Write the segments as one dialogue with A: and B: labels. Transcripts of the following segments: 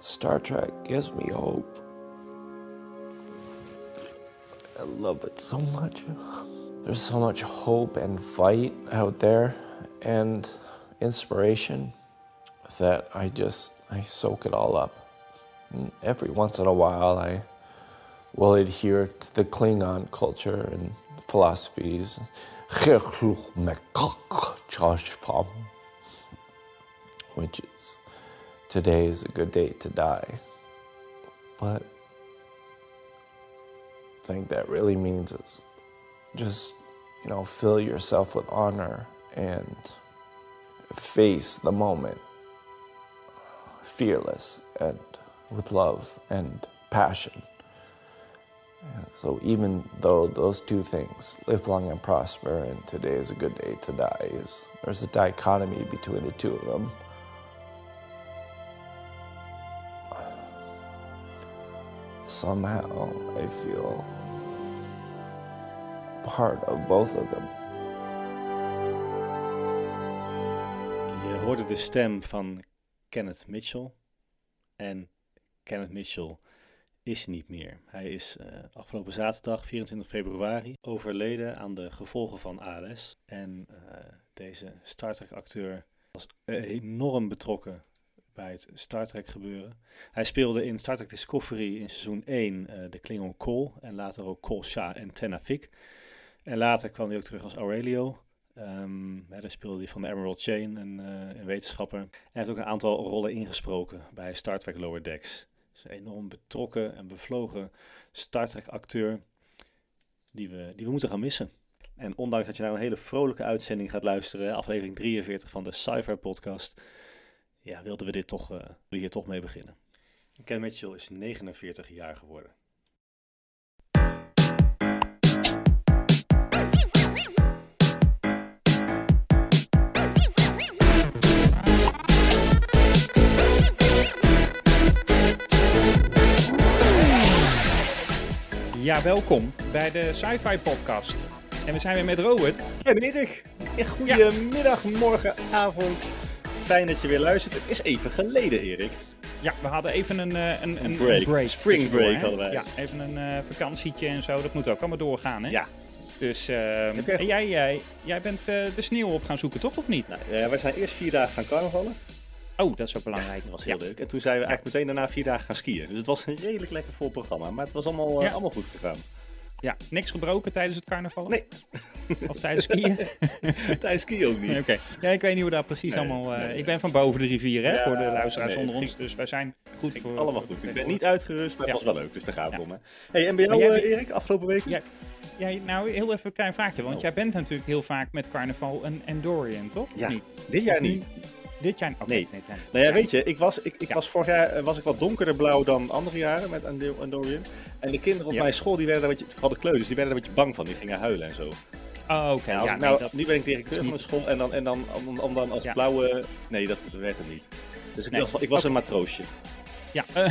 A: Star Trek gives me hope. I love it so much. There's so much hope and fight out there and inspiration that I just I soak it all up. And every once in a while I will adhere to the Klingon culture and philosophies. Which is today is a good day to die. But I think that really means is just, you know, fill yourself with honor and face the moment fearless and with love and passion. So even though those two things, live long and prosper, and today is a good day to die, is there's a dichotomy between the two of them. Somehow I feel part of both of them.
B: Je hoorde de stem van Kenneth Mitchell. En Kenneth Mitchell is niet meer. Hij is eh, afgelopen zaterdag, 24 februari, overleden aan de gevolgen van ALS. En eh, deze Star Trek-acteur was enorm betrokken bij het Star Trek gebeuren. Hij speelde in Star Trek Discovery in seizoen 1 eh, de Klingon Kol en later ook Kol Sha en Tenafik. En later kwam hij ook terug als Aurelio. Ehm, hè, daar speelde hij van de Emerald Chain, een, eh, een wetenschapper. En hij heeft ook een aantal rollen ingesproken bij Star Trek Lower Decks. Dus een enorm betrokken en bevlogen Star Trek acteur die we, die we moeten gaan missen. En ondanks dat je naar een hele vrolijke uitzending gaat luisteren, hè, aflevering 43 van de Cypher podcast, ja, wilden we dit toch, eh, hier toch mee beginnen. Ken Mitchell is 49 jaar geworden.
C: Ja, welkom bij de Sci-Fi Podcast. En we zijn weer met Robert.
B: En Erik, goedemiddag, morgen, avond. Fijn dat je weer luistert. Het is even geleden, Erik.
C: Ja, we hadden even een, eh, een, een,
B: break.
C: een break
B: Spring
C: tussendoor,
B: break
C: hè?
B: hadden wij.
C: Ja, even een eh, vakantietje en zo. Dat moet ook allemaal doorgaan, hè?
B: Ja,
C: Dus ehm,
B: Heb jij-
C: en jij, jij, jij bent eh, de sneeuw op gaan zoeken, toch? Of niet?
B: nou, eh, wij zijn eerst vier dagen gaan carnavallen.
C: Oh, dat is ook belangrijk.
B: Dat was
C: Ja.
B: heel leuk. En toen zijn we eigenlijk meteen daarna vier dagen gaan skiën. Dus het was een redelijk lekker vol programma. Maar het was allemaal, eh,
C: Ja.
B: allemaal goed gegaan.
C: Ja, niks gebroken tijdens het carnaval?
B: Nee.
C: Of tijdens skiën? Nee,
B: Tijdens skiën ook
C: Oké.
B: niet.
C: Ja, ik weet niet hoe dat precies
B: Nee,
C: allemaal... eh,
B: nee, nee.
C: Ik ben van boven de rivier, hè?
B: Ja,
C: voor de luisteraars
B: nee,
C: onder
B: ging-
C: ons. Dus wij zijn goed voor...
B: Allemaal
C: voor-
B: goed. Ik ben niet uitgerust, maar het
C: Ja.
B: was wel leuk. Dus daar gaat het om. Hè. Hey, en bij
C: Maar
B: jou,
C: jij-
B: eh, Erik, afgelopen week?
C: Ja, ja, nou, heel even een klein vraagje. Want
B: Oh.
C: jij bent natuurlijk heel vaak met carnaval een Endorian, toch? Of
B: Ja,
C: niet?
B: dit jaar
C: Of nu?
B: niet.
C: Dit jaar oké,
B: Nee.
C: dit jaar niet.
B: Nou ja,
C: Ja.
B: weet je, ik was, ik, ik
C: Ja.
B: was vorig jaar eh, was ik wat donkerder blauw dan andere jaren met Ando- Andorian. En de kinderen op
C: Ja.
B: mijn school, die werden daar een beetje, hadden kleuters, dus die werden daar een beetje bang van. Die gingen huilen en zo.
C: Oh,
B: Nou,
C: oké. ja,
B: als- nou,
C: nee, dat-
B: nu ben ik directeur
C: is
B: van de school en dan, en dan, om, om dan als
C: Ja.
B: blauwe... Nee, dat werd het niet. Dus ik,
C: Nee.
B: dacht, ik was een matroosje.
C: ja, eh,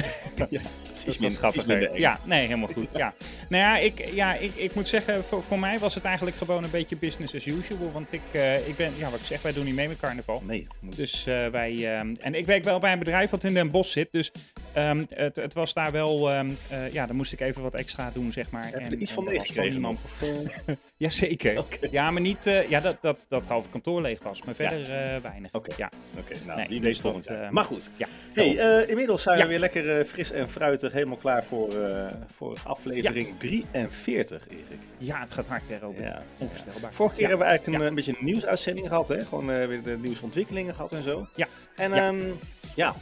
B: Iets
C: dat is wel
B: minder-
C: grappig.
B: iets minder eng.
C: Ja, nee, helemaal goed. Ja. Nou ja, ik, ja ik, ik moet zeggen, voor, voor mij was het eigenlijk gewoon een beetje business as usual. Want ik, eh, ik ben, ja, wat ik zeg, wij doen niet mee met carnaval.
B: Nee, moet-
C: Dus eh, wij. ehm, en ik werk wel bij een bedrijf wat in Den Bosch zit. Dus ehm, het, het was daar wel. ehm, eh, ja, daar moest ik even wat extra doen, zeg maar.
B: heb je
C: En-
B: er iets
C: en
B: van
C: er was gewoon
B: meegekregen?
C: niemand-
B: nog?
C: Jazeker.
B: Oké.
C: Ja, maar niet eh, ja, dat, dat, dat halve kantoor leeg was, maar
B: Ja.
C: verder eh, weinig.
B: Oké.
C: Ja.
B: Oké, nou,
C: Nee,
B: wie
C: dus
B: weet volgend
C: dat,
B: jaar.
C: eh,
B: maar goed.
C: ja.
B: Hey, eh, inmiddels zijn
C: Ja.
B: we weer lekker eh, fris en fruitig, helemaal klaar voor, eh, voor aflevering 43, Erik.
C: ja, het gaat hard, hè, Robert.
B: Ja.
C: Onvoorstelbaar.
B: Vorige keer
C: Ja.
B: hebben we eigenlijk een,
C: Ja.
B: eh, beetje een nieuwsuitzending gehad, hè? Gewoon eh, weer de nieuwsontwikkelingen gehad en zo.
C: Ja.
B: En
C: Ja.
B: ja, ja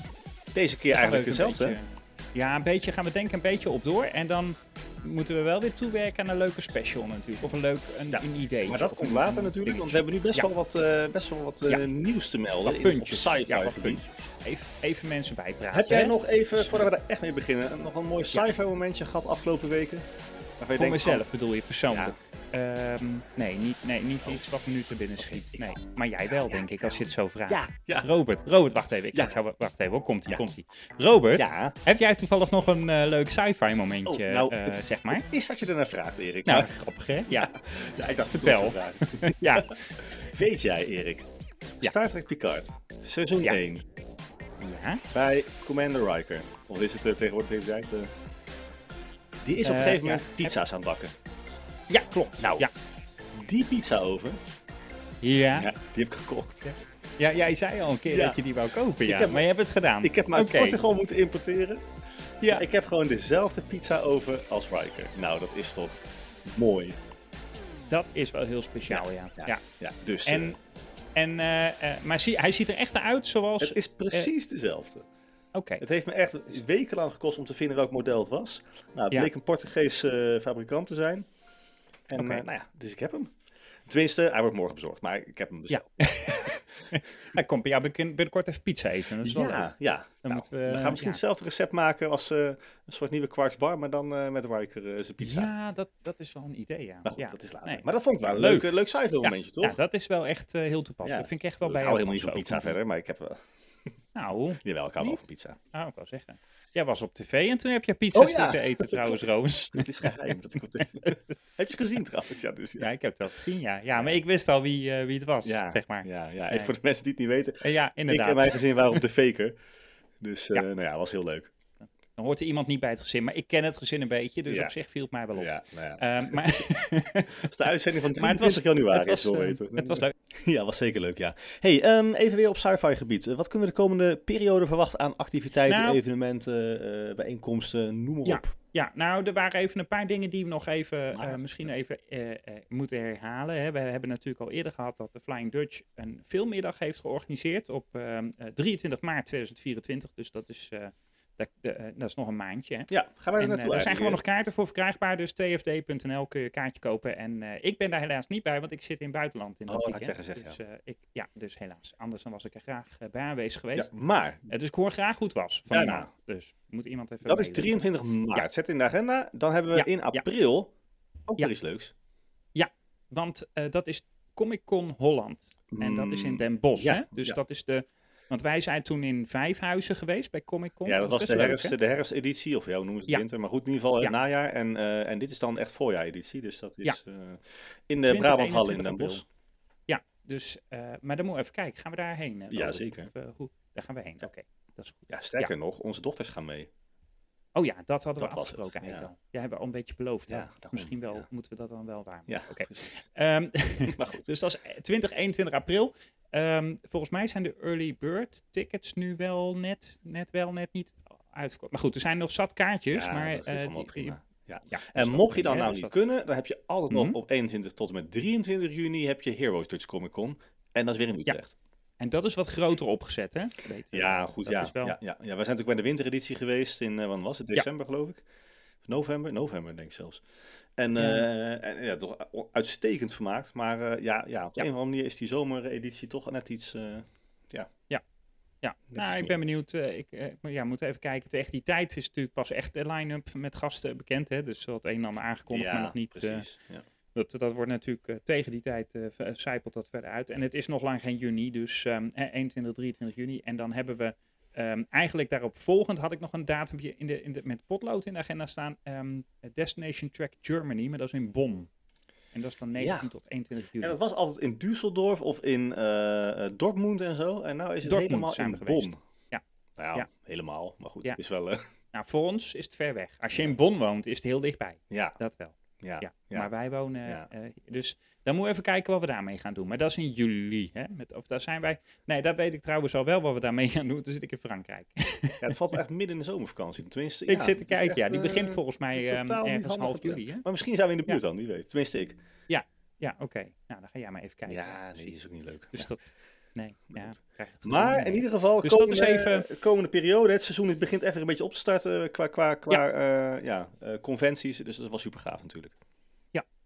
B: deze keer
C: Gaan we
B: eigenlijk
C: even
B: hetzelfde,
C: een
B: hè?
C: beetje- Ja, een beetje gaan we denken een beetje op door. En dan moeten we wel weer toewerken aan een leuke special natuurlijk. Of een leuk een,
B: Ja,
C: een idee.
B: Maar dat
C: Of
B: komt
C: een-
B: later
C: een
B: natuurlijk, want we
C: dingetje.
B: hebben nu best
C: Ja.
B: wel wat, eh, best wel wat eh,
C: Ja.
B: nieuws te melden
C: Wat
B: in, op
C: puntjes.
B: sci-fi
C: Ja, wat
B: gebied.
C: Even, even mensen bijpraten.
B: Heb jij
C: hè?
B: nog even, voordat we daar echt mee beginnen, een- nog een mooi sci-fi momentje gehad afgelopen weken? Waarvan je Oh.
C: Voor
B: denkt, oh,
C: mezelf bedoel je persoonlijk? Ehm, nee, niet, nee, niet iets wat me nu te binnen
B: Oh,
C: schiet. Nee. Maar jij wel, denk ik, als je het zo vraagt.
B: Ja, ja.
C: Robert, Robert, wacht even. Ik
B: Ja.
C: ga jou- wacht even, hoor. komt ie,
B: Ja.
C: komt ie. Robert,
B: Ja.
C: heb jij toevallig nog een eh, leuk sci-fi momentje,
B: Oh, nou,
C: eh,
B: het-
C: zeg maar?
B: Het is dat je ernaar vraagt, Erik.
C: nou,
B: Maar-
C: grappig, hè? Ja,
B: ja, ik dacht,
C: vertel.
B: ik wil het zo vragen.
C: ja.
B: Weet jij, Erik?
C: Ja.
B: Star Trek Picard, seizoen
C: Ja.
B: 1.
C: Ja?
B: Bij Commander Riker. Of is het eh, tegenwoordig even tijd? eh? die is op een
C: Eh,
B: gegeven
C: ja.
B: moment pizza's aan het bakken.
C: Ja, klopt. Nou. Ja.
B: Die pizza oven,
C: Ja.
B: ja,
C: ja.
B: die heb ik gekocht.
C: jij zei al een keer
B: Ja.
C: dat je die wou kopen, ja.
B: Ik heb-
C: maar je hebt het gedaan.
B: Ik heb hem uit
C: Oké.
B: Portugal moeten importeren.
C: Ja.
B: Ik heb gewoon dezelfde pizza oven als Riker. Nou, dat is toch mooi.
C: Dat is wel heel speciaal, ja. ja.
B: ja dus
C: En,
B: eh,
C: en, eh, eh, maar zie, hij ziet er echt uit zoals...
B: het is precies
C: eh,
B: dezelfde.
C: Oké.
B: Het heeft me echt wekenlang gekost om te vinden welk model het was. Nou, het
C: Ja.
B: bleek een Portugees eh, fabrikant te zijn. En
C: Oké.
B: eh, nou ja, dus ik heb hem. Tenminste, hij wordt morgen bezorgd, maar ik heb hem dus
C: Ja.
B: besteld.
C: Hij komt bij jou binnenkort- binnenkort even pizza eten. Dat is wel leuk.
B: ja. ja.
C: Dan
B: Nou,
C: moeten we-
B: we gaan misschien
C: ja.
B: hetzelfde recept maken als eh, een soort nieuwe Quarks Bar, maar dan eh, met Riker eh, zijn pizza.
C: Ja, dat, dat is wel een idee, ja.
B: Maar goed,
C: ja.
B: dat is later.
C: Nee.
B: Maar dat vond ik wel een
C: Leuk.
B: leuk, eh, leuk, leuk sci-fi-momentje,
C: ja,
B: toch?
C: dat is wel echt eh, heel toepasselijk.
B: Ja.
C: Dat vind ik echt wel
B: ik
C: bij
B: hou
C: jou
B: helemaal niet van pizza
C: passen ook.
B: verder, maar ik heb wel...
C: Nou,
B: Jawel, ik hou wel
C: Niet?
B: van pizza.
C: nou, ik wou zeggen. Jij was op tv en toen heb je pizza
B: Oh, ja.
C: zitten eten trouwens, Roos.
B: Het is geheim dat ik op de... Heb je het gezien trouwens? Ja, dus, ja.
C: Ja, ik heb het wel gezien, ja. Ja, maar ik wist al wie, eh, wie het was,
B: Ja,
C: zeg maar. Ja,
B: Ja, ja.
C: Nee.
B: En voor de mensen die het niet weten,
C: ja inderdaad.
B: Ik en mijn gezin waren op de faker. Dus eh
C: Ja.
B: nou ja, was heel leuk.
C: Dan hoort er iemand niet bij het gezin, maar ik ken het gezin een beetje, dus
B: Ja.
C: op zich viel het mij wel op.
B: Ja, nou ja.
C: Ehm, maar
B: Dat is de uitzending van
C: maar het was,
B: 23 januari,
C: het was,
B: zo
C: eh,
B: weten.
C: Het was leuk.
B: Ja, was zeker leuk, ja. hey, ehm, even weer op sci-fi gebied. Eh, Wat kunnen we de komende periode verwachten aan activiteiten,
C: Nou-
B: evenementen, eh, bijeenkomsten, noem maar
C: Ja.
B: op.
C: Ja, nou, er waren even een paar dingen die we nog even
B: Maar
C: eh,
B: dat-
C: misschien even eh, eh, moeten herhalen. Hè. We hebben natuurlijk al eerder gehad dat de Flying Dutch een filmmiddag heeft georganiseerd op ehm, eh, 23 maart 2024. Dus dat is, eh, dat, de- eh, dat is nog een maandje. Hè.
B: Ja, gaan wij er
C: En, eh,
B: naartoe
C: er zijn gewoon nog
B: eigenlijk?
C: kaarten voor verkrijgbaar, dus tfd.nl kun je een kaartje kopen. En eh, ik ben daar helaas niet bij, want ik zit in het buitenland in dat
B: Oh, had ik
C: weekend.
B: zeggen, zeg,
C: dus, eh, ik, ja, dus helaas. Anders dan was ik er graag eh, bij aanwezig geweest.
B: Ja, maar,
C: Eh, dus ik hoor graag hoe het was van
B: Ja,
C: iemand.
B: nou.
C: Dus moet iemand even
B: dat is
C: mailen.
B: 23 maart. Zet in de agenda. Dan hebben we
C: Ja,
B: in
C: ja.
B: april ook
C: Ja.
B: wel iets leuks.
C: Want eh, dat is Comic Con Holland. En dat is in Den Bosch.
B: Mm, Ja,
C: hè? Dus
B: ja.
C: dat is de. Want wij zijn toen in Vijfhuizen geweest bij Comic Con.
B: Ja, dat was de,
C: best leuk,
B: herfst,
C: hè?
B: de herfsteditie, of ja, hoe noemen ze het
C: Ja.
B: winter? Maar goed, in ieder geval het
C: Ja.
B: najaar. En, eh, en dit is dan echt voorjaareditie, dus dat is eh, in de
C: 20,
B: Brabanthal in
C: 21
B: Den
C: april.
B: Bosch.
C: Ja, dus. eh, maar dan moet we even kijken. Gaan we daarheen? eh,
B: Ja,
C: Roderick?
B: zeker.
C: Of, eh, hoe? Daar gaan we heen. Oké, dat is goed.
B: Ja, sterker nog, onze dochters gaan mee.
C: Oh ja, dat hadden
B: Dat
C: we
B: was het,
C: afgesproken eigenlijk
B: ja.
C: al. Ja, hebben we al een beetje beloofd. hè?
B: Ja, daarom,
C: Misschien wel
B: ja.
C: moeten we dat dan wel waar.
B: Ja,
C: Oké.
B: precies.
C: Ehm,
B: maar goed.
C: dus dat is 20, 21 april. Ehm, volgens mij zijn de early bird tickets nu wel net, net wel, net niet uitverkocht. Maar goed, er zijn nog zat kaartjes.
B: Ja,
C: maar,
B: dat is
C: eh,
B: allemaal
C: die- die-
B: prima. Ja.
C: ja, dat is
B: En
C: wel
B: mocht je dan
C: prima, hè,
B: nou
C: dus
B: niet
C: dat-
B: kunnen, dan heb je altijd
C: Mhm.
B: nog op 21 tot en met 23 juni heb je Heroes Dutch Comic Con. En dat is weer in Utrecht.
C: En dat is wat groter opgezet, hè? Weet je.
B: Ja, goed,
C: Eh, dat
B: ja.
C: is wel-
B: ja, ja. Ja, wij zijn natuurlijk bij de wintereditie geweest in, eh wanneer was het? December, geloof ik. Of november? November, denk ik zelfs. En ja, en, ja toch eh, o- uitstekend vermaakt. Maar eh, ja, ja, op de
C: Ja.
B: een of andere manier is die zomereditie toch net iets... eh,
C: Ja,
B: is
C: nou, ik
B: meer.
C: ben benieuwd. eh, ik eh, moet- ja, moet even kijken. Tegen die tijd is natuurlijk pas echt de line-up met gasten bekend, hè? Dus dat een en ander aangekondigd, maar nog niet. eh,
B: precies. ja.
C: dat, dat wordt natuurlijk eh, tegen die tijd, eh, v- eh, zijpelt dat verder uit. En het is nog lang geen juni, dus ehm, eh, 21, 23 juni. En dan hebben we ehm, eigenlijk daarop volgend, had ik nog een datumpje in de, in de, met potlood in de agenda staan. ehm, Destination Track Germany, maar dat is in Bonn. En dat is dan 19
B: Ja.
C: tot 21
B: En
C: juni.
B: dat was altijd in Düsseldorf of in eh, eh, Dortmund en zo. En nou is het
C: Dortmund
B: helemaal
C: zijn
B: in
C: we geweest.
B: Bonn.
C: Ja.
B: Nou ja,
C: Ja.
B: helemaal. Maar goed,
C: Ja.
B: het is wel... eh,
C: Nou, voor ons is het ver weg. Als je in Bonn woont, is het heel dichtbij.
B: ja,
C: Dat wel.
B: ja,
C: Ja,
B: ja.
C: maar wij wonen.
B: Ja.
C: eh, dus dan moeten we even kijken wat we daarmee gaan doen. Maar dat is in juli. Hè? Met, of daar zijn wij. Nee, dat weet ik trouwens al wel wat we daarmee gaan doen. Toen zit ik in Frankrijk.
B: Ja, het valt wel echt midden in de zomervakantie. Tenminste,
C: ik
B: ja,
C: zit te
B: het is
C: kijken.
B: echt,
C: Ja, die
B: eh,
C: begint volgens mij
B: totaal
C: ehm,
B: niet
C: ergens
B: handig
C: half
B: gepland.
C: juli. Hè?
B: Maar misschien zijn we in de buurt
C: Ja.
B: dan, wie weet. Tenminste, ik.
C: Ja, oké. Nou, dan ga jij maar even kijken.
B: Ja, nee,
C: precies.
B: die is ook niet leuk.
C: Dus
B: Ja.
C: dat. Nee, ja,
B: goed.
C: krijg het gewoon
B: Maar
C: niet
B: in
C: mee.
B: ieder geval,
C: Dus dat
B: komende,
C: is even-
B: komende periode, het seizoen het begint even een beetje op te starten eh, qua, qua, qua ja. ja, eh, conventies. Dus dat was super gaaf natuurlijk.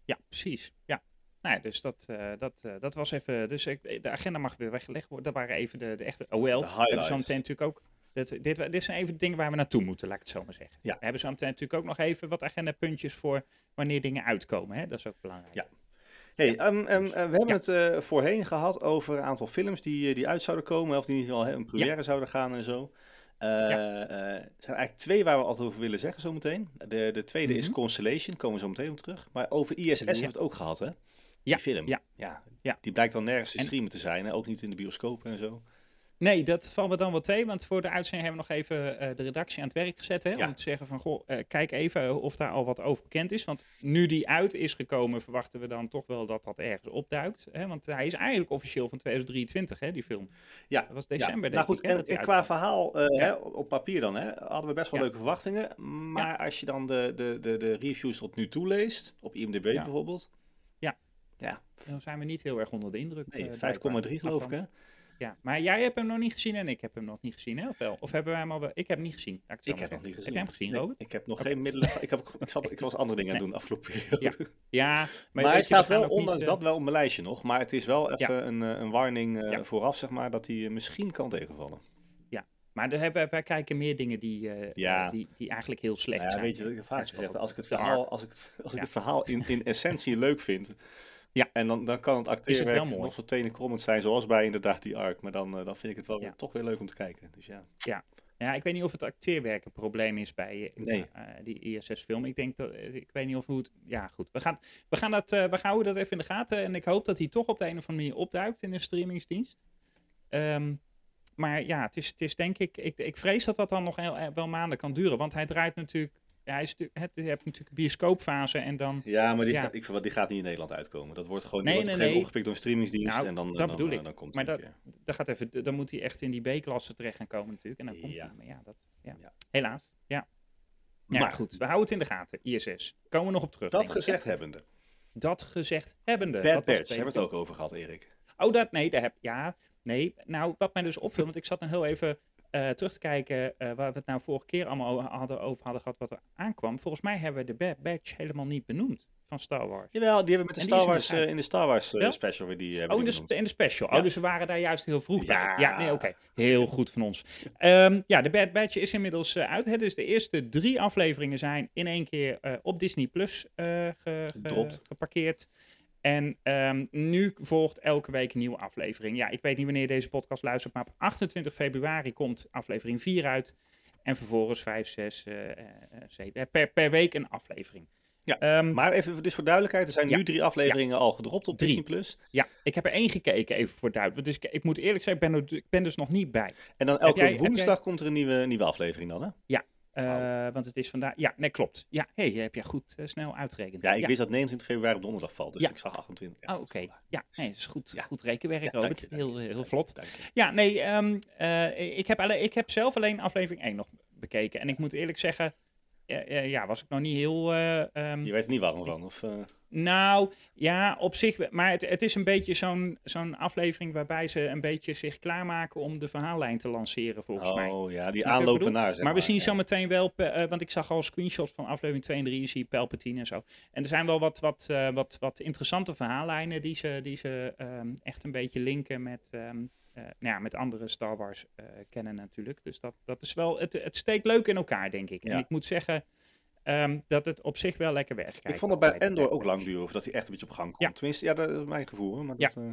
C: Ja, precies. Ja. Nou ja, dus dat, eh, dat, eh, dat was even. Dus ik, de agenda mag weer weggelegd worden. Dat waren even de, de echte. Oh wel,
B: De
C: we hebben
B: highlights.
C: zo meteen natuurlijk ook. Dat, dit, wa- dit zijn even de dingen waar we naartoe moeten, laat ik het zo maar zeggen.
B: Ja.
C: We hebben zo meteen natuurlijk ook nog even wat agendapuntjes voor wanneer dingen uitkomen. Hè? Dat is ook belangrijk.
B: Ja. Hey, ehm, ehm, eh, we hebben
C: Ja.
B: het eh, voorheen gehad over een aantal films die, eh, die uit zouden komen. Of die in ieder geval hè, een première zouden gaan en zo. Eh, eh, er zijn eigenlijk twee waar we altijd over willen zeggen zometeen. De, de tweede is
C: Mhm.
B: Constellation, komen we zo meteen op terug. Maar over ISS hebben we het ook gehad, hè? Die
C: Ja,
B: film.
C: ja.
B: Ja.
C: Ja.
B: Die blijkt dan nergens te
C: En-
B: streamen te zijn. Hè? Ook niet in de bioscopen en zo.
C: Nee, dat valt me dan wel tegen, want voor de uitzending hebben we nog even eh, de redactie aan het werk gezet. Hè,
B: Ja.
C: Om te zeggen van, goh, eh, kijk even of daar al wat over bekend is. Want nu die uit is gekomen, verwachten we dan toch wel dat dat ergens opduikt. Hè, want hij is eigenlijk officieel van 2023, hè, die film.
B: Ja,
C: Dat was december,
B: Nou
C: denk
B: goed,
C: ik. hè,
B: en,
C: dat die
B: en qua
C: uitkwam.
B: verhaal eh,
C: Ja.
B: hè, op op papier dan, hè, hadden we best wel
C: Ja.
B: leuke verwachtingen. Maar als je dan de, de, de, de reviews tot nu toe leest, op IMDb
C: Ja.
B: bijvoorbeeld.
C: Ja.
B: Ja,
C: Dan zijn we niet heel erg onder de indruk.
B: nee,
C: eh,
B: 5,3
C: blijkbaar.
B: geloof ik hè.
C: Ja, maar jij hebt hem nog niet gezien en ik heb hem nog niet gezien, hè? Of wel? Of hebben wij hem al wel... Ik heb hem niet gezien. laat het zo
B: Ik heb
C: maar
B: nog niet
C: zeggen.
B: gezien.
C: Heb jij hem gezien,
B: Nee,
C: Robert?
B: Ik heb nog geen middelen. Ik, heb, ook- ik, zat, ik was andere dingen aan het doen afgelopen periode.
C: Ja, Ja,
B: Maar,
C: weet je,
B: hij
C: we
B: staat
C: gaan
B: wel,
C: ook niet,
B: ondanks
C: eh,
B: dat, wel op mijn lijstje nog. Maar het is wel even een, eh, een warning eh,
C: Ja.
B: vooraf, zeg maar, dat hij eh, misschien kan tegenvallen.
C: Maar daar hebben, wij kijken meer dingen die, eh,
B: Ja.
C: eh, die, die eigenlijk heel slecht
B: Nou ja,
C: zijn.
B: weet je, wat ik heb vaak
C: Dat is
B: gezegd,
C: wel
B: als ik het
C: de
B: verhaal,
C: arc.
B: als ik het, als ik
C: Ja.
B: het verhaal in, in essentie leuk vind,
C: Ja.
B: en dan, dan kan het acteerwerk
C: wel mooi.
B: nog zo tenenkrommend zijn, zoals bij inderdaad die arc. Maar dan, eh, dan vind ik het wel
C: Ja.
B: toch weer leuk om te kijken. Dus ja.
C: Ja, ik weet niet of het acteerwerk een probleem is bij eh,
B: Nee.
C: eh, die ISS-film. Ik denk dat, eh, ik weet niet of hoe het, ja goed. We gaan, we gaan dat, eh, we houden dat even in de gaten. En ik hoop dat hij toch op de een of andere manier opduikt in de streamingsdienst. Ehm, maar ja, het is, het is denk ik, ik, ik vrees dat dat dan nog heel, eh, wel maanden kan duren. Want hij draait natuurlijk, ja, hij is, tu- het, je hebt natuurlijk een bioscoopfase en dan,
B: Ja, maar die,
C: Ja.
B: Gaat, ik, verwacht- die gaat niet in Nederland uitkomen. Dat wordt gewoon
C: Nee,
B: die wordt op
C: nee,
B: een gegeven moment
C: nee.
B: opgepikt door een streamingsdienst.
C: Nou,
B: en dan, eh,
C: dat
B: dan,
C: bedoel
B: eh,
C: ik.
B: Dan komt
C: Maar
B: het
C: dat-
B: een keer.
C: dan, gaat even, dan moet hij echt in die B-klasse terecht gaan komen natuurlijk. En dan komt
B: Ja.
C: hij, maar ja, dat, ja.
B: Ja.
C: helaas, ja. Ja,
B: Maar-
C: maar goed, we houden het in de gaten, ISS. Komen we nog op terug.
B: Dat
C: denk ik, hè?
B: gezegd hebbende.
C: Dat gezegd hebbende.
B: Bad
C: Wat was
B: Batch,
C: tweede
B: hebben we het ook over gehad, Erik.
C: film? Oh, dat, nee, daar heb Ja, nee. Nou, wat mij dus opviel, want ik zat nog heel even eh, terug te kijken eh, waar we het nou vorige keer allemaal o- hadden, over hadden gehad wat er aankwam. Volgens mij hebben we de Bad Batch helemaal niet benoemd van Star Wars.
B: Jawel, die hebben met de
C: En die
B: Star
C: is er
B: Wars,
C: nog uit.
B: eh, in de Star Wars eh,
C: Ja?
B: special weer die hebben
C: Oh, in
B: die
C: de,
B: benoemd.
C: sp- in de special.
B: Ja.
C: Oh, dus we waren daar juist heel vroeg
B: Ja.
C: bij. Ja, nee, oké. Heel goed van ons. Ehm, ja, de Bad Batch is inmiddels eh, uit. Hè? Dus de eerste drie afleveringen zijn in één keer eh, op Disney Plus eh, ge- ge-
B: Gedropt.
C: geparkeerd. En ehm, nu volgt elke week een nieuwe aflevering. Ja, ik weet niet wanneer je deze podcast luistert, maar op 28 februari komt aflevering 4 uit. En vervolgens 5, 6, eh eh, 7. eh, Per, per week een aflevering.
B: Ja,
C: Ehm,
B: Maar even, dus voor duidelijkheid, er zijn
C: Ja.
B: nu drie afleveringen al gedropt op
C: Drie.
B: Disney+. Plus.
C: ja, ik heb er één gekeken, even voor duidelijk. Dus ik, ik moet eerlijk zijn, ik ben, er- ik ben dus nog niet bij.
B: En dan elke
C: jij- heb
B: woensdag komt er een nieuwe, nieuwe aflevering dan, hè?
C: Eh,
B: Wauw.
C: Want het is vandaag. Ja, nee, klopt. Ja, hey, heb je goed eh, snel uitgerekend.
B: Ja, ik wist dat 29 februari op donderdag valt, dus
C: Ja.
B: ik zag 28. Ja,
C: Oh, oké. Ja, nee, dat is goed,
B: Ja.
C: goed rekenwerk,
B: Ja, dank
C: Robert.
B: je, dank
C: heel,
B: je,
C: heel
B: dank je,
C: vlot.
B: dank je.
C: Ja, nee, ehm, eh, ik, heb alle, ik heb zelf alleen aflevering 1 nog bekeken. En ik moet eerlijk zeggen, eh, eh, ja, was ik nog niet heel... eh, ehm,
B: Je werd er niet warm van, of... eh,
C: nou, ja, op zich. we- Maar het, het is een beetje zo'n zo'n aflevering waarbij ze een beetje zich klaarmaken om de verhaallijn te lanceren, volgens mij.
B: Oh ja, die
C: Snap je wat ik
B: aanlopen
C: bedoel?
B: naar, zeg maar.
C: maar we zien
B: ja.
C: zometeen wel, pe- eh, want ik zag al screenshots van aflevering 2 en 3, je ziet Palpatine en zo. En er zijn wel wat, wat, eh, wat, wat interessante verhaallijnen die ze, die ze ehm, echt een beetje linken met, ehm, eh, nou ja, met andere Star Wars eh, kennen natuurlijk. Dus dat, dat is wel, het, het steekt leuk in elkaar, denk ik.
B: Ja.
C: En ik moet zeggen ehm, dat het op zich wel lekker werkt.
B: Ik vond het bij Endor ook lang duren, of dat hij echt een beetje op gang komt.
C: Ja.
B: Tenminste, ja, dat is mijn gevoel, hoor, maar
C: Ja.
B: dat... eh,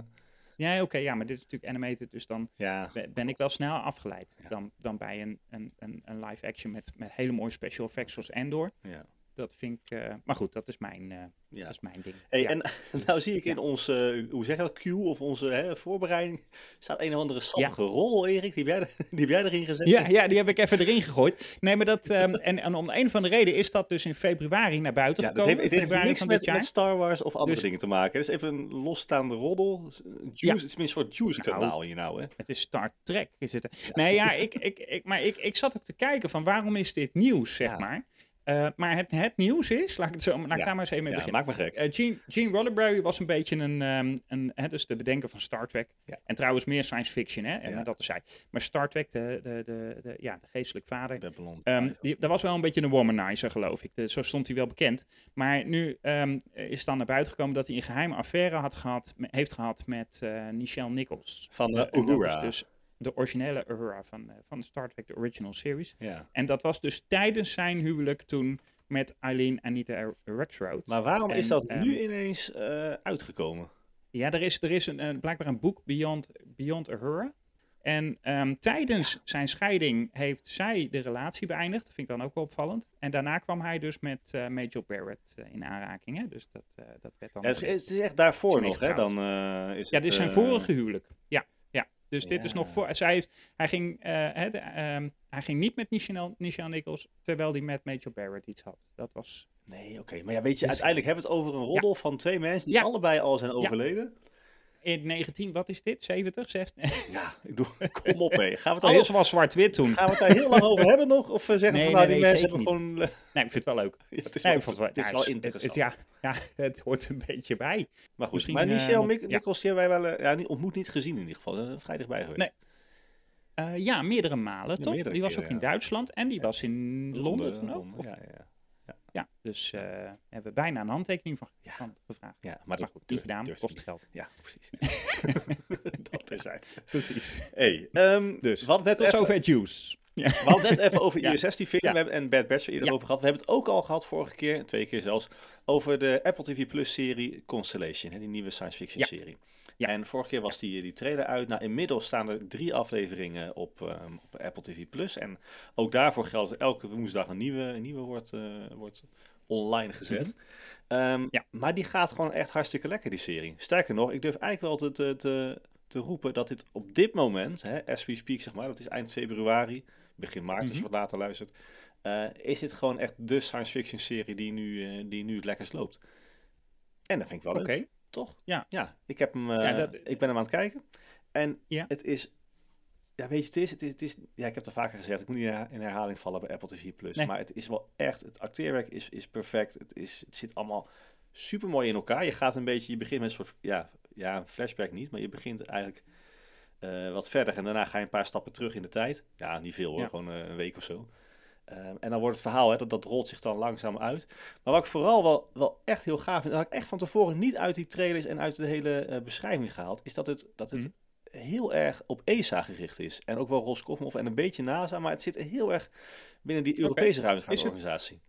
C: Ja, oké, ja, maar dit is natuurlijk animated, dus dan
B: ja.
C: ben- ben ik wel snel afgeleid
B: Ja.
C: dan, dan bij een, een, een, een live action met, met hele mooie special effects zoals Endor.
B: Ja.
C: Dat vind ik, eh, maar goed, dat is mijn, eh,
B: ja.
C: dat is mijn ding.
B: Hey,
C: Ja.
B: En nou zie ik in onze, eh, hoe zeg je dat, queue of onze hè, voorbereiding, staat een of andere sappige rommel, Erik, die heb jij, er- die heb jij erin gezet.
C: Ja, ja, die heb ik even erin gegooid. Nee, maar dat, ehm, en, en om een van de reden is dat dus in februari naar buiten
B: Ja, dat
C: gekomen.
B: heeft, het heeft
C: februari
B: niks
C: van
B: met,
C: dit jaar.
B: met Star Wars of andere
C: Dus-
B: dingen te maken. Het is even een losstaande roddel. Een Juice,
C: Ja.
B: Het is meer een soort juice-kanaal
C: Nou.
B: hier nou, hè?
C: Het is Star Trek. Is het. Nee, ja, ik, ik, ik, maar ik, ik zat ook te kijken van waarom is dit nieuws, zeg
B: Ja.
C: maar. Eh, maar het, het nieuws is, laat ik, het zo, laat ik
B: Ja.
C: daar maar eens even mee
B: Ja,
C: beginnen.
B: maak me gek.
C: Eh, Gene, Gene Roddenberry was een beetje een, ehm, een hè, dus de bedenker van Star Trek.
B: Ja.
C: En trouwens meer science fiction, hè? En
B: Ja.
C: dat is hij. Maar Star Trek, de, de, de, de- ja, de geestelijk vader.
B: Babylon.
C: Ehm, die, dat was wel een beetje een womanizer, geloof ik. De- zo stond hij wel bekend. Maar nu ehm, is dan naar buiten gekomen dat hij een geheime affaire had gehad, me- heeft gehad met eh Nichelle Nichols.
B: Van
C: Eh,
B: de
C: en dat is
B: Uhura.
C: dus de originele Uhura van, eh, van Star Trek, de original series.
B: ja.
C: En dat was dus tijdens zijn huwelijk toen met Eileen Anita Rexroth.
B: Maar waarom is
C: En,
B: dat
C: ehm,
B: nu ineens eh, uitgekomen?
C: Ja, er is, er is een, een- blijkbaar een boek, Beyond, Beyond Uhura. En ehm, tijdens zijn scheiding heeft zij de relatie beëindigd. Dat vind ik dan ook wel opvallend. En daarna kwam hij dus met eh, Major Barrett eh, in aanraking. Hè? Dus dat, eh, dat werd dan...
B: Ja, het, is- het is echt daarvoor
C: is
B: nog, hè?
C: meegegaan.
B: Dan, eh, is
C: ja,
B: het,
C: dit is zijn
B: eh,
C: vorige huwelijk. Ja, ja. Dus dit is
B: Ja.
C: nog voor. Zij heeft, hij, ging, eh, hè, de, ehm, hij ging niet met Nichelle, Nichelle Nichols, terwijl hij met Major Barrett iets had. Dat was.
B: Nee, oké. Maar ja, weet je,
C: Dus-
B: uiteindelijk hebben we het over een roddel van twee mensen die
C: Ja.
B: allebei al zijn overleden.
C: In 19, wat is dit? 70, 60?
B: Ja, ik doe, kom op mee. Gaan we, het daar heel,
C: Alles was zwart-wit toen.
B: gaan we het daar heel lang over hebben nog? Of eh, zeggen
C: Nee,
B: we van nou,
C: nee,
B: die
C: nee,
B: mensen
C: zeker
B: hebben gewoon... eh,
C: Nee, ik vind het wel leuk.
B: Ja, het is
C: Nee,
B: wel,
C: ik vond het wel,
B: het is
C: ja,
B: wel
C: het- het-
B: interessant.
C: het- ja, ja, het hoort een beetje bij.
B: Maar goed,
C: Misschien,
B: maar
C: eh,
B: Michel
C: nog-
B: Mik
C: ja.
B: Mikkels, die hebben wij wel eh, ja, niet- ontmoet niet gezien in ieder geval. Eh, Vrij dichtbij geweest.
C: Nee. Eh, ja, meerdere malen,
B: Ja,
C: toch?
B: meerdere
C: die was
B: keren,
C: ook in
B: ja.
C: Duitsland en die was in Londen, toen ook. Of-
B: ja, ja,
C: Ja, dus eh, hebben we bijna een handtekening van,
B: Ja.
C: van gevraagd.
B: ja, maar
C: Maar
B: dat
C: goed, niet
B: durf-
C: gedaan,
B: durfde
C: kost
B: niet.
C: geld.
B: Ja, precies. dat is hij.
C: Precies.
B: Hey, ehm,
C: Dus,
B: we hadden het
C: Tot
B: net even,
C: zover Juice. Ja.
B: we hadden het net even over
C: Ja.
B: ISS-TV
C: Ja.
B: en Bad Batch eerder
C: Ja.
B: over gehad. We hebben het ook al gehad vorige keer, twee keer zelfs, over de Apple TV Plus-serie Constellation, hè, die nieuwe science
C: Ja.
B: fiction-serie.
C: Ja.
B: En vorige keer was die, die trailer uit. Nou, inmiddels staan er drie afleveringen op, ehm, op Apple TV Plus. En ook daarvoor geldt dat elke woensdag een nieuwe, een nieuwe wordt, eh, wordt online gezet. Ehm,
C: Mhm. Ja.
B: Maar die gaat gewoon echt hartstikke lekker, die serie. Sterker nog, ik durf eigenlijk wel te, te, te, te roepen dat dit op dit moment, hè, as we speak zeg maar, dat is eind februari, begin maart
C: Mhm.
B: als je wat later luistert, eh, is dit gewoon echt de science fiction serie die nu, eh, die nu het lekkerst loopt. En dat vind ik wel
C: Oké.
B: leuk, toch?
C: Ja.
B: Ja, ik, heb hem, eh,
C: Ja, dat-
B: ik ben hem aan het kijken. En
C: Ja.
B: het is... Ja, weet je, het is, het is, het is... Ja, ik heb het al vaker gezegd. Ik moet niet in herha- in herhaling vallen bij Apple TV+. Plus,
C: Nee.
B: Maar het is wel echt... Het acteerwerk is, is perfect. Het, is, het zit allemaal super mooi in elkaar. Je gaat een beetje... Je begint met een soort... Ja, ja een flashback niet. Maar je begint eigenlijk eh, wat verder. En daarna ga je een paar stappen terug in de tijd. Ja, niet veel hoor.
C: Ja.
B: Gewoon eh, een week of zo. Ehm, en dan wordt het verhaal, hè, dat, dat rolt zich dan langzaam uit. Maar wat ik vooral wel, wel echt heel gaaf vind, en dat had ik echt van tevoren niet uit die trailers en uit de hele eh, beschrijving gehaald, is dat het, dat het
C: Mhm.
B: heel erg op ESA gericht is. En ook wel Roscosmos en een beetje NASA, maar het zit heel erg binnen die Europese ruimtevaartorganisatie.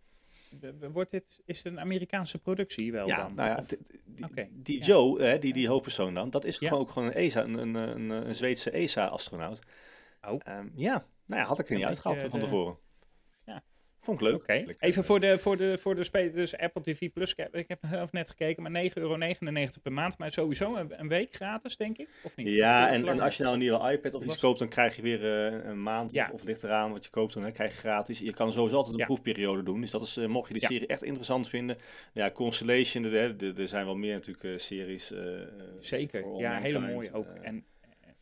C: W- w- Wordt dit, is het een Amerikaanse productie wel
B: Ja,
C: Oh, dan?
B: nou ja,
C: Of-
B: d- d- die,
C: Oké,
B: die
C: ja.
B: Joe, hè, die, die hoofdpersoon dan, dat is
C: Ja.
B: gewoon ook gewoon een ESA, een, een, een, een Zweedse E ESA-astronaut.
C: Oh.
B: ja, nou ja, had ik er niet
C: beetje
B: uitgehaald van
C: de-
B: tevoren.
C: Ja.
B: Vond ik leuk.
C: Oké, even voor de, voor de, voor de spelers, dus Apple TV Plus. Ik heb, ik heb zelf net gekeken, maar 9,99 euro per maand. Maar sowieso een, een week gratis, denk ik, of niet?
B: Ja,
C: Of
B: en, en
C: langer?
B: als je nou een nieuwe iPad of
C: Hoe
B: iets
C: was-
B: koopt, dan krijg je weer eh, een maand
C: Ja.
B: of, of ligt eraan wat je koopt. Dan hè, krijg je gratis. Je kan sowieso altijd een
C: Ja.
B: proefperiode doen. Dus dat is, eh, mocht je de
C: Ja.
B: serie echt interessant vinden. Ja, Constellation, er- er er- er zijn wel meer natuurlijk eh, series. eh, eh, voor
C: Zeker,
B: All
C: ja, hele
B: Mankind,
C: mooi ook.
B: eh,
C: En,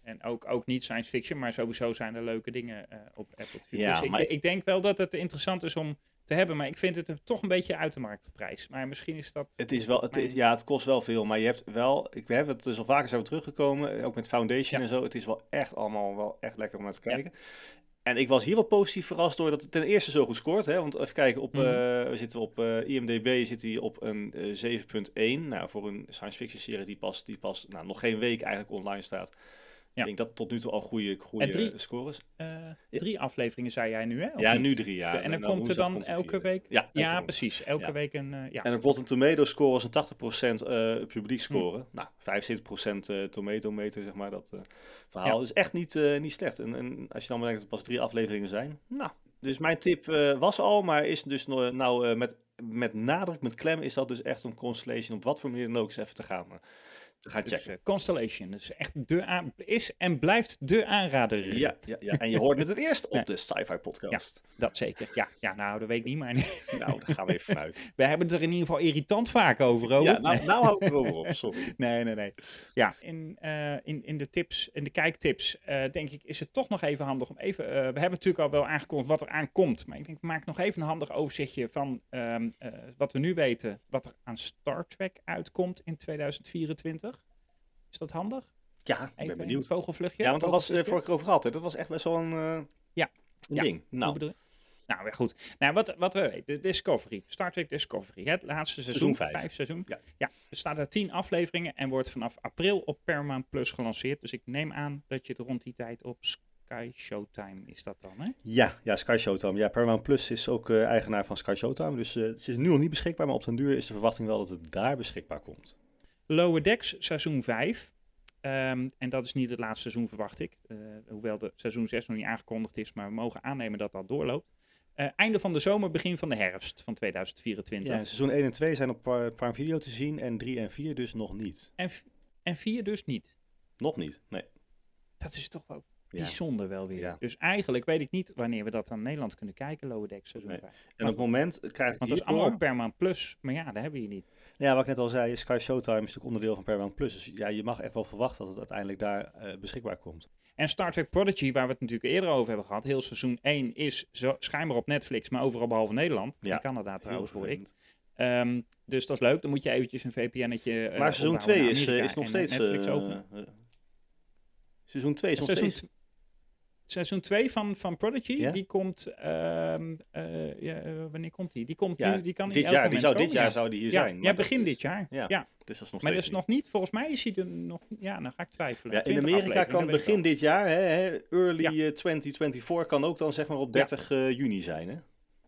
C: en ook, ook niet science fiction, maar sowieso zijn er leuke dingen eh, op Apple TV.
B: Ja,
C: dus ik,
B: maar ik-
C: ik denk wel dat het interessant is om te hebben, maar ik vind het er toch een beetje uit de markt geprijsd. Maar misschien is dat...
B: Het is wel, het, is- ja, het kost wel veel, maar je hebt wel, ik we hebben het dus al vaker zo teruggekomen, eh, ook met Foundation
C: Ja.
B: en zo. Het is wel echt allemaal wel echt lekker om naar te kijken. En ik was hier wel positief verrast door dat het ten eerste zo goed scoort. Hè? Want even kijken, op,
C: Mhm.
B: eh, we zitten op eh, IMDB zit hij op een eh, 7.1. Nou, voor een science fiction serie die pas, die pas nou, nog geen week eigenlijk online staat.
C: Ja.
B: Ik denk dat tot nu toe al goede,
C: En
B: goede
C: drie-
B: scores.
C: eh, drie afleveringen, zei jij nu, hè? Of
B: Ja,
C: niet?
B: nu drie jaar.
C: en dan
B: Nou,
C: komt er
B: woensdag
C: dan
B: komt de
C: elke
B: vierde.
C: week-
B: Ja, elke
C: Ja,
B: woensdag.
C: precies. Elke
B: Ja.
C: week een... eh, ja.
B: En op Rotten Tomatoes score is een 80% eh publiek score. Nou, 75% eh tomatometer, zeg maar, dat eh, verhaal.
C: Ja.
B: is echt niet, eh, niet slecht. En, en als je dan bedenkt dat er pas drie afleveringen zijn. Nou, dus mijn tip eh, was al, maar is dus nou, nou eh, met, met nadruk, met klem, is dat dus echt om Constellation op wat voor manier dan ook eens even te gaan, eh, te gaan
C: Dus,
B: checken.
C: eh, Constellation is echt de aan- is en blijft de aanrader.
B: ja, ja, ja, en je hoort het het eerst op de Sci-Fi podcast.
C: Dat zeker. Ja, ja nou, dat weet ik niet, maar
B: Nou, daar gaan we even vanuit.
C: we hebben het er in ieder geval irritant vaak over, over.
B: Ja, nou, nou hou ik erover op, sorry.
C: Nee, nee, nee. Ja, in, eh, in, in de tips, in de kijktips, eh, denk ik, is het toch nog even handig om even. eh, we hebben natuurlijk al wel aangekondigd wat er aankomt. Maar ik denk, maak nog even een handig overzichtje van ehm, eh, wat we nu weten. Wat er aan Star Trek uitkomt in 2024. Is dat handig?
B: Ja, ik
C: Even
B: ben
C: een
B: benieuwd.
C: vogelvluchtje.
B: Ja, want dat was eh,
C: Vogelvluchtje?
B: vorige keer over gehad. Hè? Dat was echt best wel een, eh,
C: Ja.
B: een
C: Ja.
B: ding. Nou,
C: Hoe bedoel je? Nou, weer goed. Nou, wat, wat we weten, de Discovery, Star Trek Discovery, hè, het laatste seizoen,
B: Seizoen vijf.
C: seizoen.
B: Ja.
C: er staan er tien afleveringen en wordt vanaf april op Paramount Plus gelanceerd. Dus ik neem aan dat je het rond die tijd op Sky Showtime is dat dan, hè?
B: Ja, ja, Sky Showtime. Ja, Paramount Plus is ook eh, eigenaar van Sky Showtime. Dus eh het is nu nog niet beschikbaar, maar op den duur is de verwachting wel dat het daar beschikbaar komt.
C: Lower Decks seizoen 5. Ehm, en dat is niet het laatste seizoen, verwacht ik. Eh, hoewel de seizoen 6 nog niet aangekondigd is, maar we mogen aannemen dat dat doorloopt. Eh, einde van de zomer, begin van de herfst van 2024.
B: Ja, seizoen 1 en 2 zijn op eh, Prime Video te zien en 3 en 4 dus nog niet.
C: En, v- en vier dus niet.
B: Nog niet, nee.
C: Dat is toch wel
B: Ja.
C: bijzonder wel weer.
B: Ja.
C: Dus eigenlijk weet ik niet wanneer we dat aan Nederland kunnen kijken, Lower Deck seizoen
B: Nee.
C: vijf.
B: En op het moment krijg ik
C: Want dat is
B: hierdoor-
C: allemaal ook Permanent Plus. Maar ja, dat hebben we hier niet.
B: Ja, wat ik net al zei, Sky Showtime is natuurlijk onderdeel van Paramount Plus. Dus ja, je mag echt wel verwachten dat het uiteindelijk daar eh, beschikbaar komt.
C: En Star Trek Prodigy, waar we het natuurlijk eerder over hebben gehad. Heel seizoen 1 is zo, schijnbaar op Netflix, maar overal behalve Nederland.
B: Ja.
C: In Canada trouwens,
B: Heel
C: hoor ik.
B: vervelend.
C: Ehm, dus dat is leuk. Dan moet je eventjes een VPN'tje eh,
B: maar seizoen
C: opbouwen
B: 2
C: naar
B: is, eh,
C: Amerika
B: is nog
C: en
B: steeds...
C: Netflix
B: eh,
C: openen.
B: eh, seizoen 2 is nog
C: seizoen,
B: steeds...
C: tw- seizoen 2 van, van Prodigy,
B: Ja?
C: die komt... ehm, eh, ja, eh, wanneer komt die? Die komt
B: Ja,
C: nu, die kan in
B: dit
C: elk
B: jaar, die
C: moment
B: zou, dit
C: komen,
B: jaar
C: ja.
B: zou die hier
C: ja,
B: zijn.
C: ja,
B: maar dat
C: begin
B: is-
C: dit jaar.
B: ja.
C: Ja.
B: Dus dat is nog
C: Maar dat
B: steeds
C: is nog niet, volgens mij is hij er nog... Ja, dan ga ik twijfelen.
B: Ja, in
C: 20
B: Amerika kan
C: afleveringen, dat weet ik wel.
B: begin dit jaar, hè, hè, early
C: Ja.
B: eh, 2024, kan ook dan zeg maar op 30 eh, juni zijn. Hè?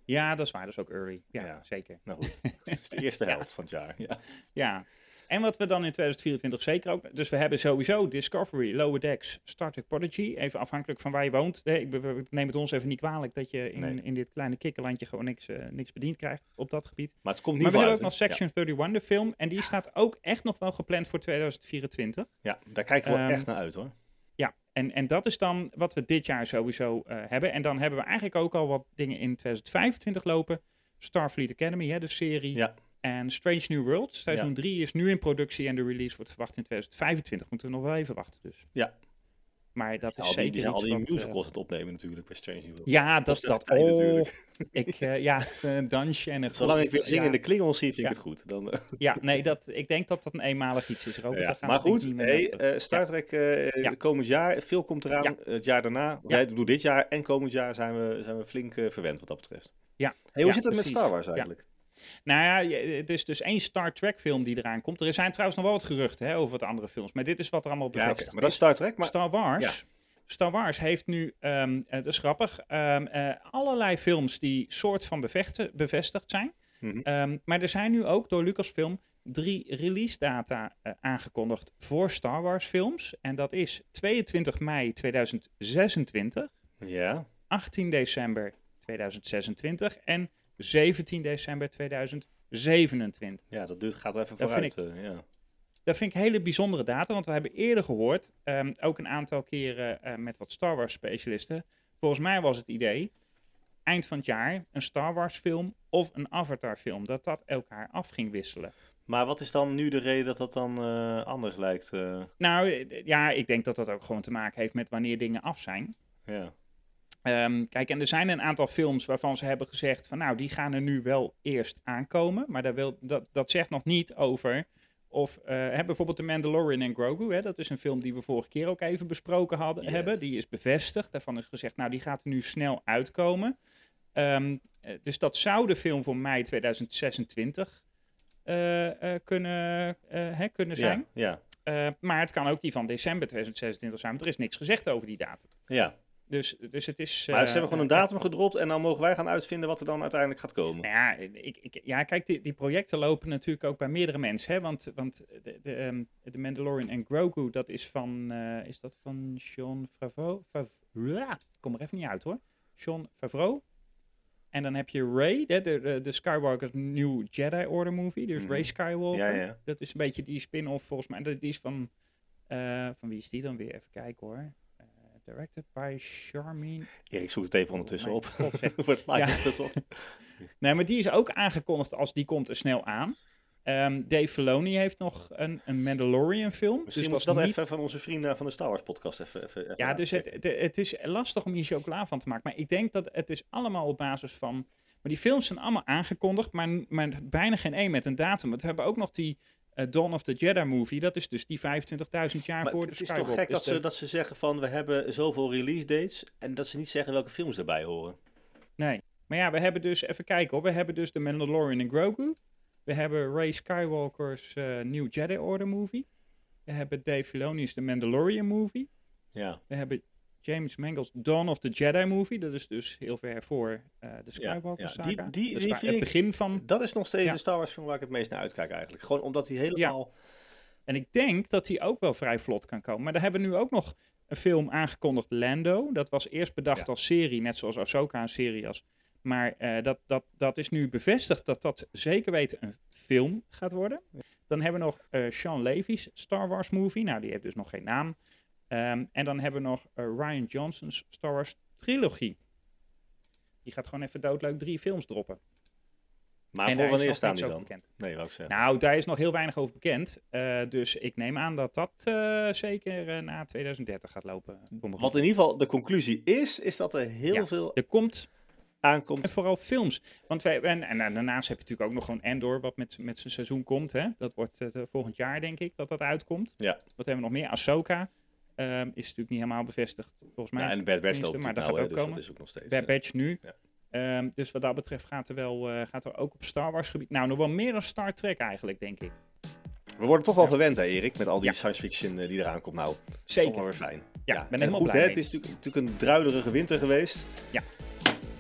C: Ja, dat is waar. Dat is ook early. Ja,
B: Ja.
C: zeker.
B: Nou goed, dat is de eerste helft van het jaar. Ja.
C: Ja. En wat we dan in 2024 zeker ook... Dus we hebben sowieso Discovery, Lower Decks, Star Trek Prodigy. Even afhankelijk van waar je woont. Nee, ik, be- we- neem het ons even niet kwalijk dat je in,
B: Nee.
C: in dit kleine kikkerlandje gewoon niks, eh, niks bediend krijgt op dat gebied.
B: Maar het komt niet
C: Maar we
B: veel
C: hebben
B: uit,
C: ook nog
B: hè?
C: Section 31, de film. En die staat ook echt nog wel gepland voor 2024.
B: Ja, ja, daar kijken we wel
C: Ehm,
B: echt naar uit hoor.
C: Ja, en, en dat is dan wat we dit jaar sowieso eh, hebben. En dan hebben we eigenlijk ook al wat dingen in 2025 lopen. Starfleet Academy, hè, de serie.
B: Ja.
C: En Strange New Worlds, seizoen
B: Ja.
C: 3 is nu in productie en de release wordt verwacht in 2025. Moeten we nog wel even wachten dus.
B: Ja.
C: Maar dat is
B: Al die,
C: zeker
B: die zijn al
C: iets
B: die
C: wat, eh,
B: musicals aan het opnemen natuurlijk bij Strange New World.
C: ja, dat,
B: kost echt
C: dat.
B: tijd
C: Oh,
B: natuurlijk.
C: ik, eh, ja, een dansje en een...
B: Zolang ik weer zing
C: ja,
B: in de klingel zie, vind ik
C: Ja.
B: het goed. Dan, eh,
C: Ja, nee, dat, ik denk dat dat een eenmalig iets is, Robert.
B: ja.
C: Daar gaan
B: Maar
C: we denk ik
B: goed,
C: niet meer
B: hey,
C: naar terug.
B: eh, Star Trek eh,
C: Ja.
B: eh, komend jaar, veel komt eraan.
C: Ja.
B: Het jaar daarna, ja. ik bedoel dit jaar en komend jaar zijn we, zijn we flink eh, verwend wat dat betreft.
C: Ja.
B: Hey, hoe
C: Ja,
B: zit het
C: precies.
B: met Star Wars
C: Ja.
B: eigenlijk?
C: Nou ja, je- het is dus één Star Trek film die eraan komt. Er zijn trouwens nog wel wat geruchten hè, over wat andere films. Maar dit is wat er allemaal
B: Ja, oké.
C: bevestigd
B: maar dat is Star Trek. Maar
C: Star Wars. Star Wars heeft nu, ehm eh, dat is grappig, ehm, eh, allerlei films die soort van bevechten, bevestigd zijn.
B: Mhm.
C: Ehm, maar er zijn nu ook door Lucasfilm drie release data eh, aangekondigd voor Star Wars films. En dat is 22 mei 2026,
B: ja,
C: 18 december 2026 en 17 december 2027.
B: ja, dat duurt, gaat even
C: Dat vind
B: vooruit. eh, ja.
C: Dat vind ik hele bijzondere data, want we hebben eerder gehoord, ehm, ook een aantal keren eh, met wat Star Wars specialisten. Volgens mij was het idee, eind van het jaar, een Star Wars film of een Avatar film, dat dat elkaar af ging wisselen.
B: Maar wat is dan nu de reden dat dat dan eh, anders lijkt? eh,
C: Nou eh, ja, ik denk dat dat ook gewoon te maken heeft met wanneer dingen af zijn.
B: ja.
C: Ehm, kijk, en er zijn een aantal films waarvan ze hebben gezegd van nou, die gaan er nu wel eerst aankomen. Maar dat, wil, dat, dat zegt nog niet over of eh, hè, bijvoorbeeld The Mandalorian en Grogu. Hè, dat is een film die we vorige keer ook even besproken hadden,
B: Yes.
C: hebben. Die is bevestigd. Daarvan is gezegd nou, die gaat er nu snel uitkomen. Ehm, eh, dus dat zou de film voor mei 2026 eh, eh, kunnen, eh, hè, kunnen zijn.
B: ja, ja,
C: Eh, maar het kan ook die van december 2026 zijn, want er is niks gezegd over die datum.
B: ja.
C: Dus, dus het is.
B: Maar
C: eh,
B: ze hebben gewoon een
C: eh,
B: datum gedropt en dan mogen wij gaan uitvinden wat er dan uiteindelijk gaat komen.
C: Nou ja, ik, ik, ja kijk, die, die projecten lopen natuurlijk ook bij meerdere mensen. Hè? Want, want de, de, ehm, de Mandalorian en Grogu, dat is van, eh, is dat van John Favreau? Favreau? Ja, Kom er even niet uit hoor. John Favreau. En dan heb je Ray, de, de, de- de Skywalker New Jedi Order movie. Dus
B: Mhm.
C: Ray Skywalker.
B: Ja, ja.
C: Dat is een beetje die spin-off volgens mij. Dat- Die is van, eh, van wie is die dan weer? Even kijken hoor. Eh, directed by Charmin.
B: Erik zoekt het even ondertussen
C: Mijn
B: op.
C: god, zeg.
B: Wordt live
C: Ja. Dus
B: ondertussen op.
C: Nee, maar die is ook aangekondigd als die komt er snel aan. Ehm Dave Filoni heeft nog een, een Mandalorian film.
B: Misschien
C: dus
B: moeten we
C: dat
B: dat
C: niet...
B: even van onze vrienden van de Star Wars podcast even... even, even
C: Ja,
B: laten
C: dus het,
B: checken.
C: het, het is lastig om hier chocola van te maken. Maar ik denk dat het is allemaal op basis van... Maar die films zijn allemaal aangekondigd, maar, maar bijna geen één met een datum. Want we hebben ook nog die eh, Dawn of the Jedi movie. Dat is dus die 25.000 jaar
B: Maar
C: voor de
B: het is
C: Skywalker.
B: toch gek
C: Dus
B: dat ze, dat ze zeggen van we hebben zoveel release dates en dat ze niet zeggen welke films erbij horen.
C: Nee. Maar ja, we hebben dus, even kijken hoor. We hebben dus de Mandalorian en Grogu. We hebben Ray Skywalker's eh, New Jedi Order movie. We hebben Dave Filoni's The Mandalorian movie.
B: Ja,
C: We hebben James Mangles Dawn of the Jedi movie. Dat is dus heel ver voor eh, de
B: Ja,
C: Skywalker
B: ja.
C: saga.
B: Die- die-
C: Dus
B: die
C: waar-
B: vind
C: het
B: ik-
C: begin van...
B: dat is nog steeds
C: Ja.
B: de Star Wars film waar ik het meest naar uitkijk eigenlijk. Gewoon omdat hij helemaal...
C: En ik denk dat die ook wel vrij vlot kan komen. Maar daar hebben we nu ook nog een film aangekondigd, Lando. Dat was eerst bedacht
B: Ja.
C: als serie, net zoals Ahsoka een serie was. Maar eh, dat, dat, dat is nu bevestigd dat dat zeker weten een film gaat worden. Dan hebben we nog eh Sean Levy's Star Wars movie. Nou, die heeft dus nog geen naam. Eh, Ehm, en dan hebben we nog eh, Ryan Johnson's Star Wars trilogie. Die gaat gewoon even doodleuk drie films droppen.
B: Maar
C: en
B: voor
C: daar is
B: wanneer
C: nog
B: staan
C: niks
B: die
C: over
B: dan?
C: bekend.
B: Nee, wou ik zeggen.
C: Nou, daar is nog heel weinig over bekend. Eh, dus ik neem aan dat dat eh, zeker eh, na 2030 gaat lopen. Voor
B: Wat
C: mijn gevoel.
B: in ieder geval de conclusie is, is dat er heel
C: Nou, Ja.
B: veel
C: Er komt
B: aankomt.
C: en vooral films. Want wij, en, en, en daarnaast heb je natuurlijk ook nog gewoon Endor, wat met, met zijn seizoen komt. Hè? Dat wordt eh, volgend jaar, denk ik, dat dat uitkomt.
B: Ja.
C: Wat hebben we nog meer? Ahsoka ehm, is natuurlijk niet helemaal bevestigd, volgens mij.
B: Nou, en Bad Batch
C: tenminste,
B: loopt
C: maar
B: natuurlijk
C: dat
B: nou,
C: gaat
B: hè,
C: ook
B: dus
C: komen.
B: dat is ook nog steeds.
C: Bad
B: eh,
C: Batch nu.
B: ja.
C: Ehm, dus wat dat betreft gaat er, wel, eh, gaat er ook op Star Wars gebied... Nou, nog wel meer dan Star Trek eigenlijk, denk ik.
B: We worden toch wel gewend, hè, Erik, met al die
C: Ja.
B: science fiction eh, die eraan komt. Nou, toch wel
C: Zeker.
B: weer fijn.
C: Ja, ben
B: en
C: helemaal
B: goed,
C: blij
B: hè,
C: mee.
B: Het is natuurlijk, natuurlijk een druilerige winter geweest.
C: Ja.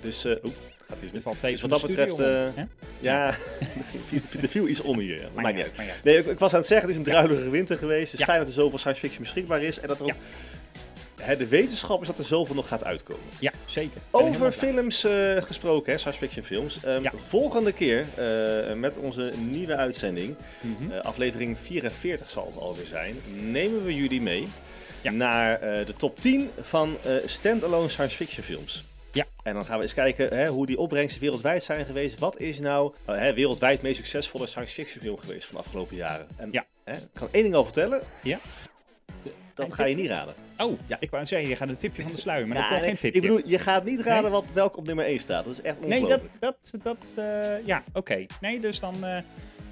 B: Dus, eh oeh, gaat hier
C: Er
B: dus
C: valt tegen
B: wat dat
C: de studio
B: betreft, eh,
C: om, hè?
B: Ja, er viel iets om hier. Maar, maakt niet uit.
C: maar ja.
B: Nee, ik, ik was aan het zeggen, het is een druilerige winter geweest. Dus
C: Ja.
B: fijn dat er zoveel science fiction beschikbaar is. En dat er ook, hè, de wetenschap is dat er zoveel nog gaat uitkomen.
C: Ja, zeker. Ik ben helemaal blij.
B: Over films eh, gesproken, hè, science fiction films. Ehm,
C: Ja.
B: Volgende keer eh, met onze nieuwe uitzending,
C: Mhm.
B: eh, aflevering 44 zal het alweer zijn, nemen we jullie mee
C: Ja.
B: naar eh, de top 10 van eh standalone science fiction films.
C: Ja.
B: En dan gaan we eens kijken hè, hoe die opbrengsten wereldwijd zijn geweest. Wat is nou eh, hè, wereldwijd het meest succesvolle science fiction film geweest van de afgelopen jaren? En
C: Ja.
B: hè, ik kan één ding al vertellen,
C: Ja.
B: dat
C: Een
B: ga je niet raden.
C: Oh,
B: Ja.
C: ik wou zeggen, je gaat een tipje van de sluier, maar dat
B: Ja,
C: kan geen
B: nee,
C: tipje.
B: ik bedoel, je gaat niet raden
C: Nee.
B: wat, welk op nummer 1 staat. Dat is echt ongelooflijk.
C: Nee, dat, dat, dat eh, ja, oké. Nee, dus dan, eh,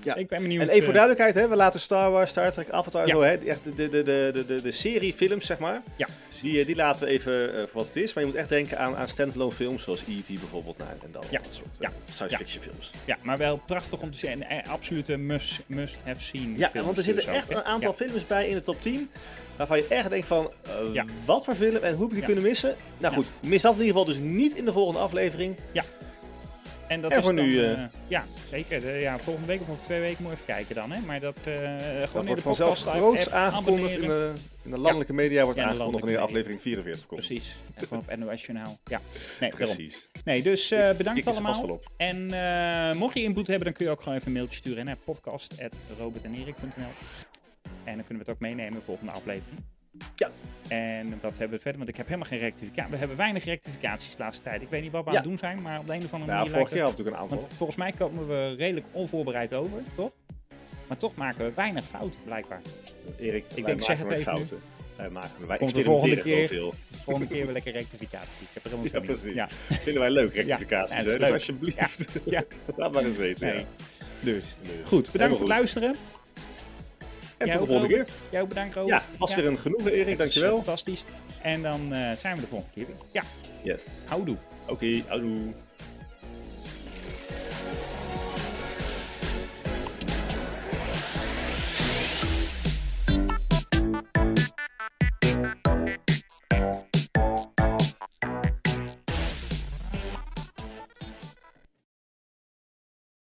B: Ja.
C: ik ben benieuwd.
B: En even voor
C: eh,
B: duidelijkheid, hè, we laten Star Wars, Star Trek, Avatar,
C: Ja.
B: zo, hè, echt de, de, de, de, de, de serie films, zeg maar,
C: ja,
B: die, eh, die laten we even eh, voor wat het is. Maar je moet echt denken aan, aan standalone films zoals E.T. bijvoorbeeld nou, en dan
C: Ja.
B: dat soort eh,
C: Ja.
B: science
C: Ja.
B: fiction films.
C: ja, maar wel prachtig om te zien. En eh, absolute must- must-have-seen
B: Ja,
C: films
B: want er zitten
C: dus ook,
B: echt
C: hè.
B: een aantal films bij in de top 10, waarvan je echt denkt van, eh,
C: Ja.
B: wat voor film en hoe heb ik die
C: Ja.
B: kunnen missen? Nou
C: Ja.
B: goed, mis dat in ieder geval dus niet in de volgende aflevering.
C: Ja, en dat
B: en
C: is
B: voor
C: dan,
B: nu,
C: eh,
B: eh,
C: ja, zeker. Eh, ja, volgende week of over twee weken moet je even kijken dan, hè. Maar dat,
B: Dat
C: eh, gewoon in
B: wordt
C: de
B: vanzelf
C: podcast eh,
B: groots
C: app
B: aangekondigd in
C: abonneren.
B: de, in de landelijke media, wordt
C: Ja, in de
B: aangekondigd wanneer
C: landelijke
B: aflevering 44 komt.
C: Precies. En gewoon op NOS Journaal. Ja, nee, daarom.
B: Precies.
C: Nee, dus eh,
B: Ik
C: bedankt
B: kies er vast
C: allemaal.
B: wel op.
C: En eh, mocht je input hebben, dan kun je ook gewoon even een mailtje sturen naar podcast.robertenerik.nl. En dan kunnen we het ook meenemen in de volgende aflevering.
B: Ja.
C: En wat hebben we verder? Want ik heb helemaal geen rectificatie. We hebben weinig rectificaties de laatste tijd. Ik weet niet wat we aan
B: Ja.
C: het doen zijn, maar op de een of andere
B: Nou,
C: manier.
B: vorig
C: lijkt
B: jaar had ik natuurlijk een
C: het-
B: aantal.
C: Want volgens mij komen we redelijk onvoorbereid over, toch? Maar toch maken we weinig fouten, blijkbaar.
B: Erik, ik wij
C: denk,
B: maken
C: zeg het
B: nooit
C: even nu.
B: fouten. Wij maken, wij
C: Komt de
B: experimenteren
C: volgende
B: gewoon veel.
C: Volgende keer weer lekker rectificatie. Ik heb er helemaal
B: Ja,
C: zin in.
B: precies.
C: Ja.
B: Vinden wij leuk, rectificaties.
C: Ja,
B: hè?
C: leuk.
B: Dus alsjeblieft,
C: ja.
B: laat maar eens weten.
C: Nee.
B: Ja.
C: Dus.
B: Nee.
C: Goed,
B: Helemaal
C: bedankt voor het luisteren.
B: En
C: Jij
B: tot de
C: ook,
B: volgende keer.
C: Robert? Jij ook bedankt, Robert.
B: Ja, was weer een genoegen, Erik. Dankjewel.
C: Fantastisch. En dan eh, zijn we de volgende keer weer. Ja,
B: Yes.
C: houdoe.
B: Oké, houdoe.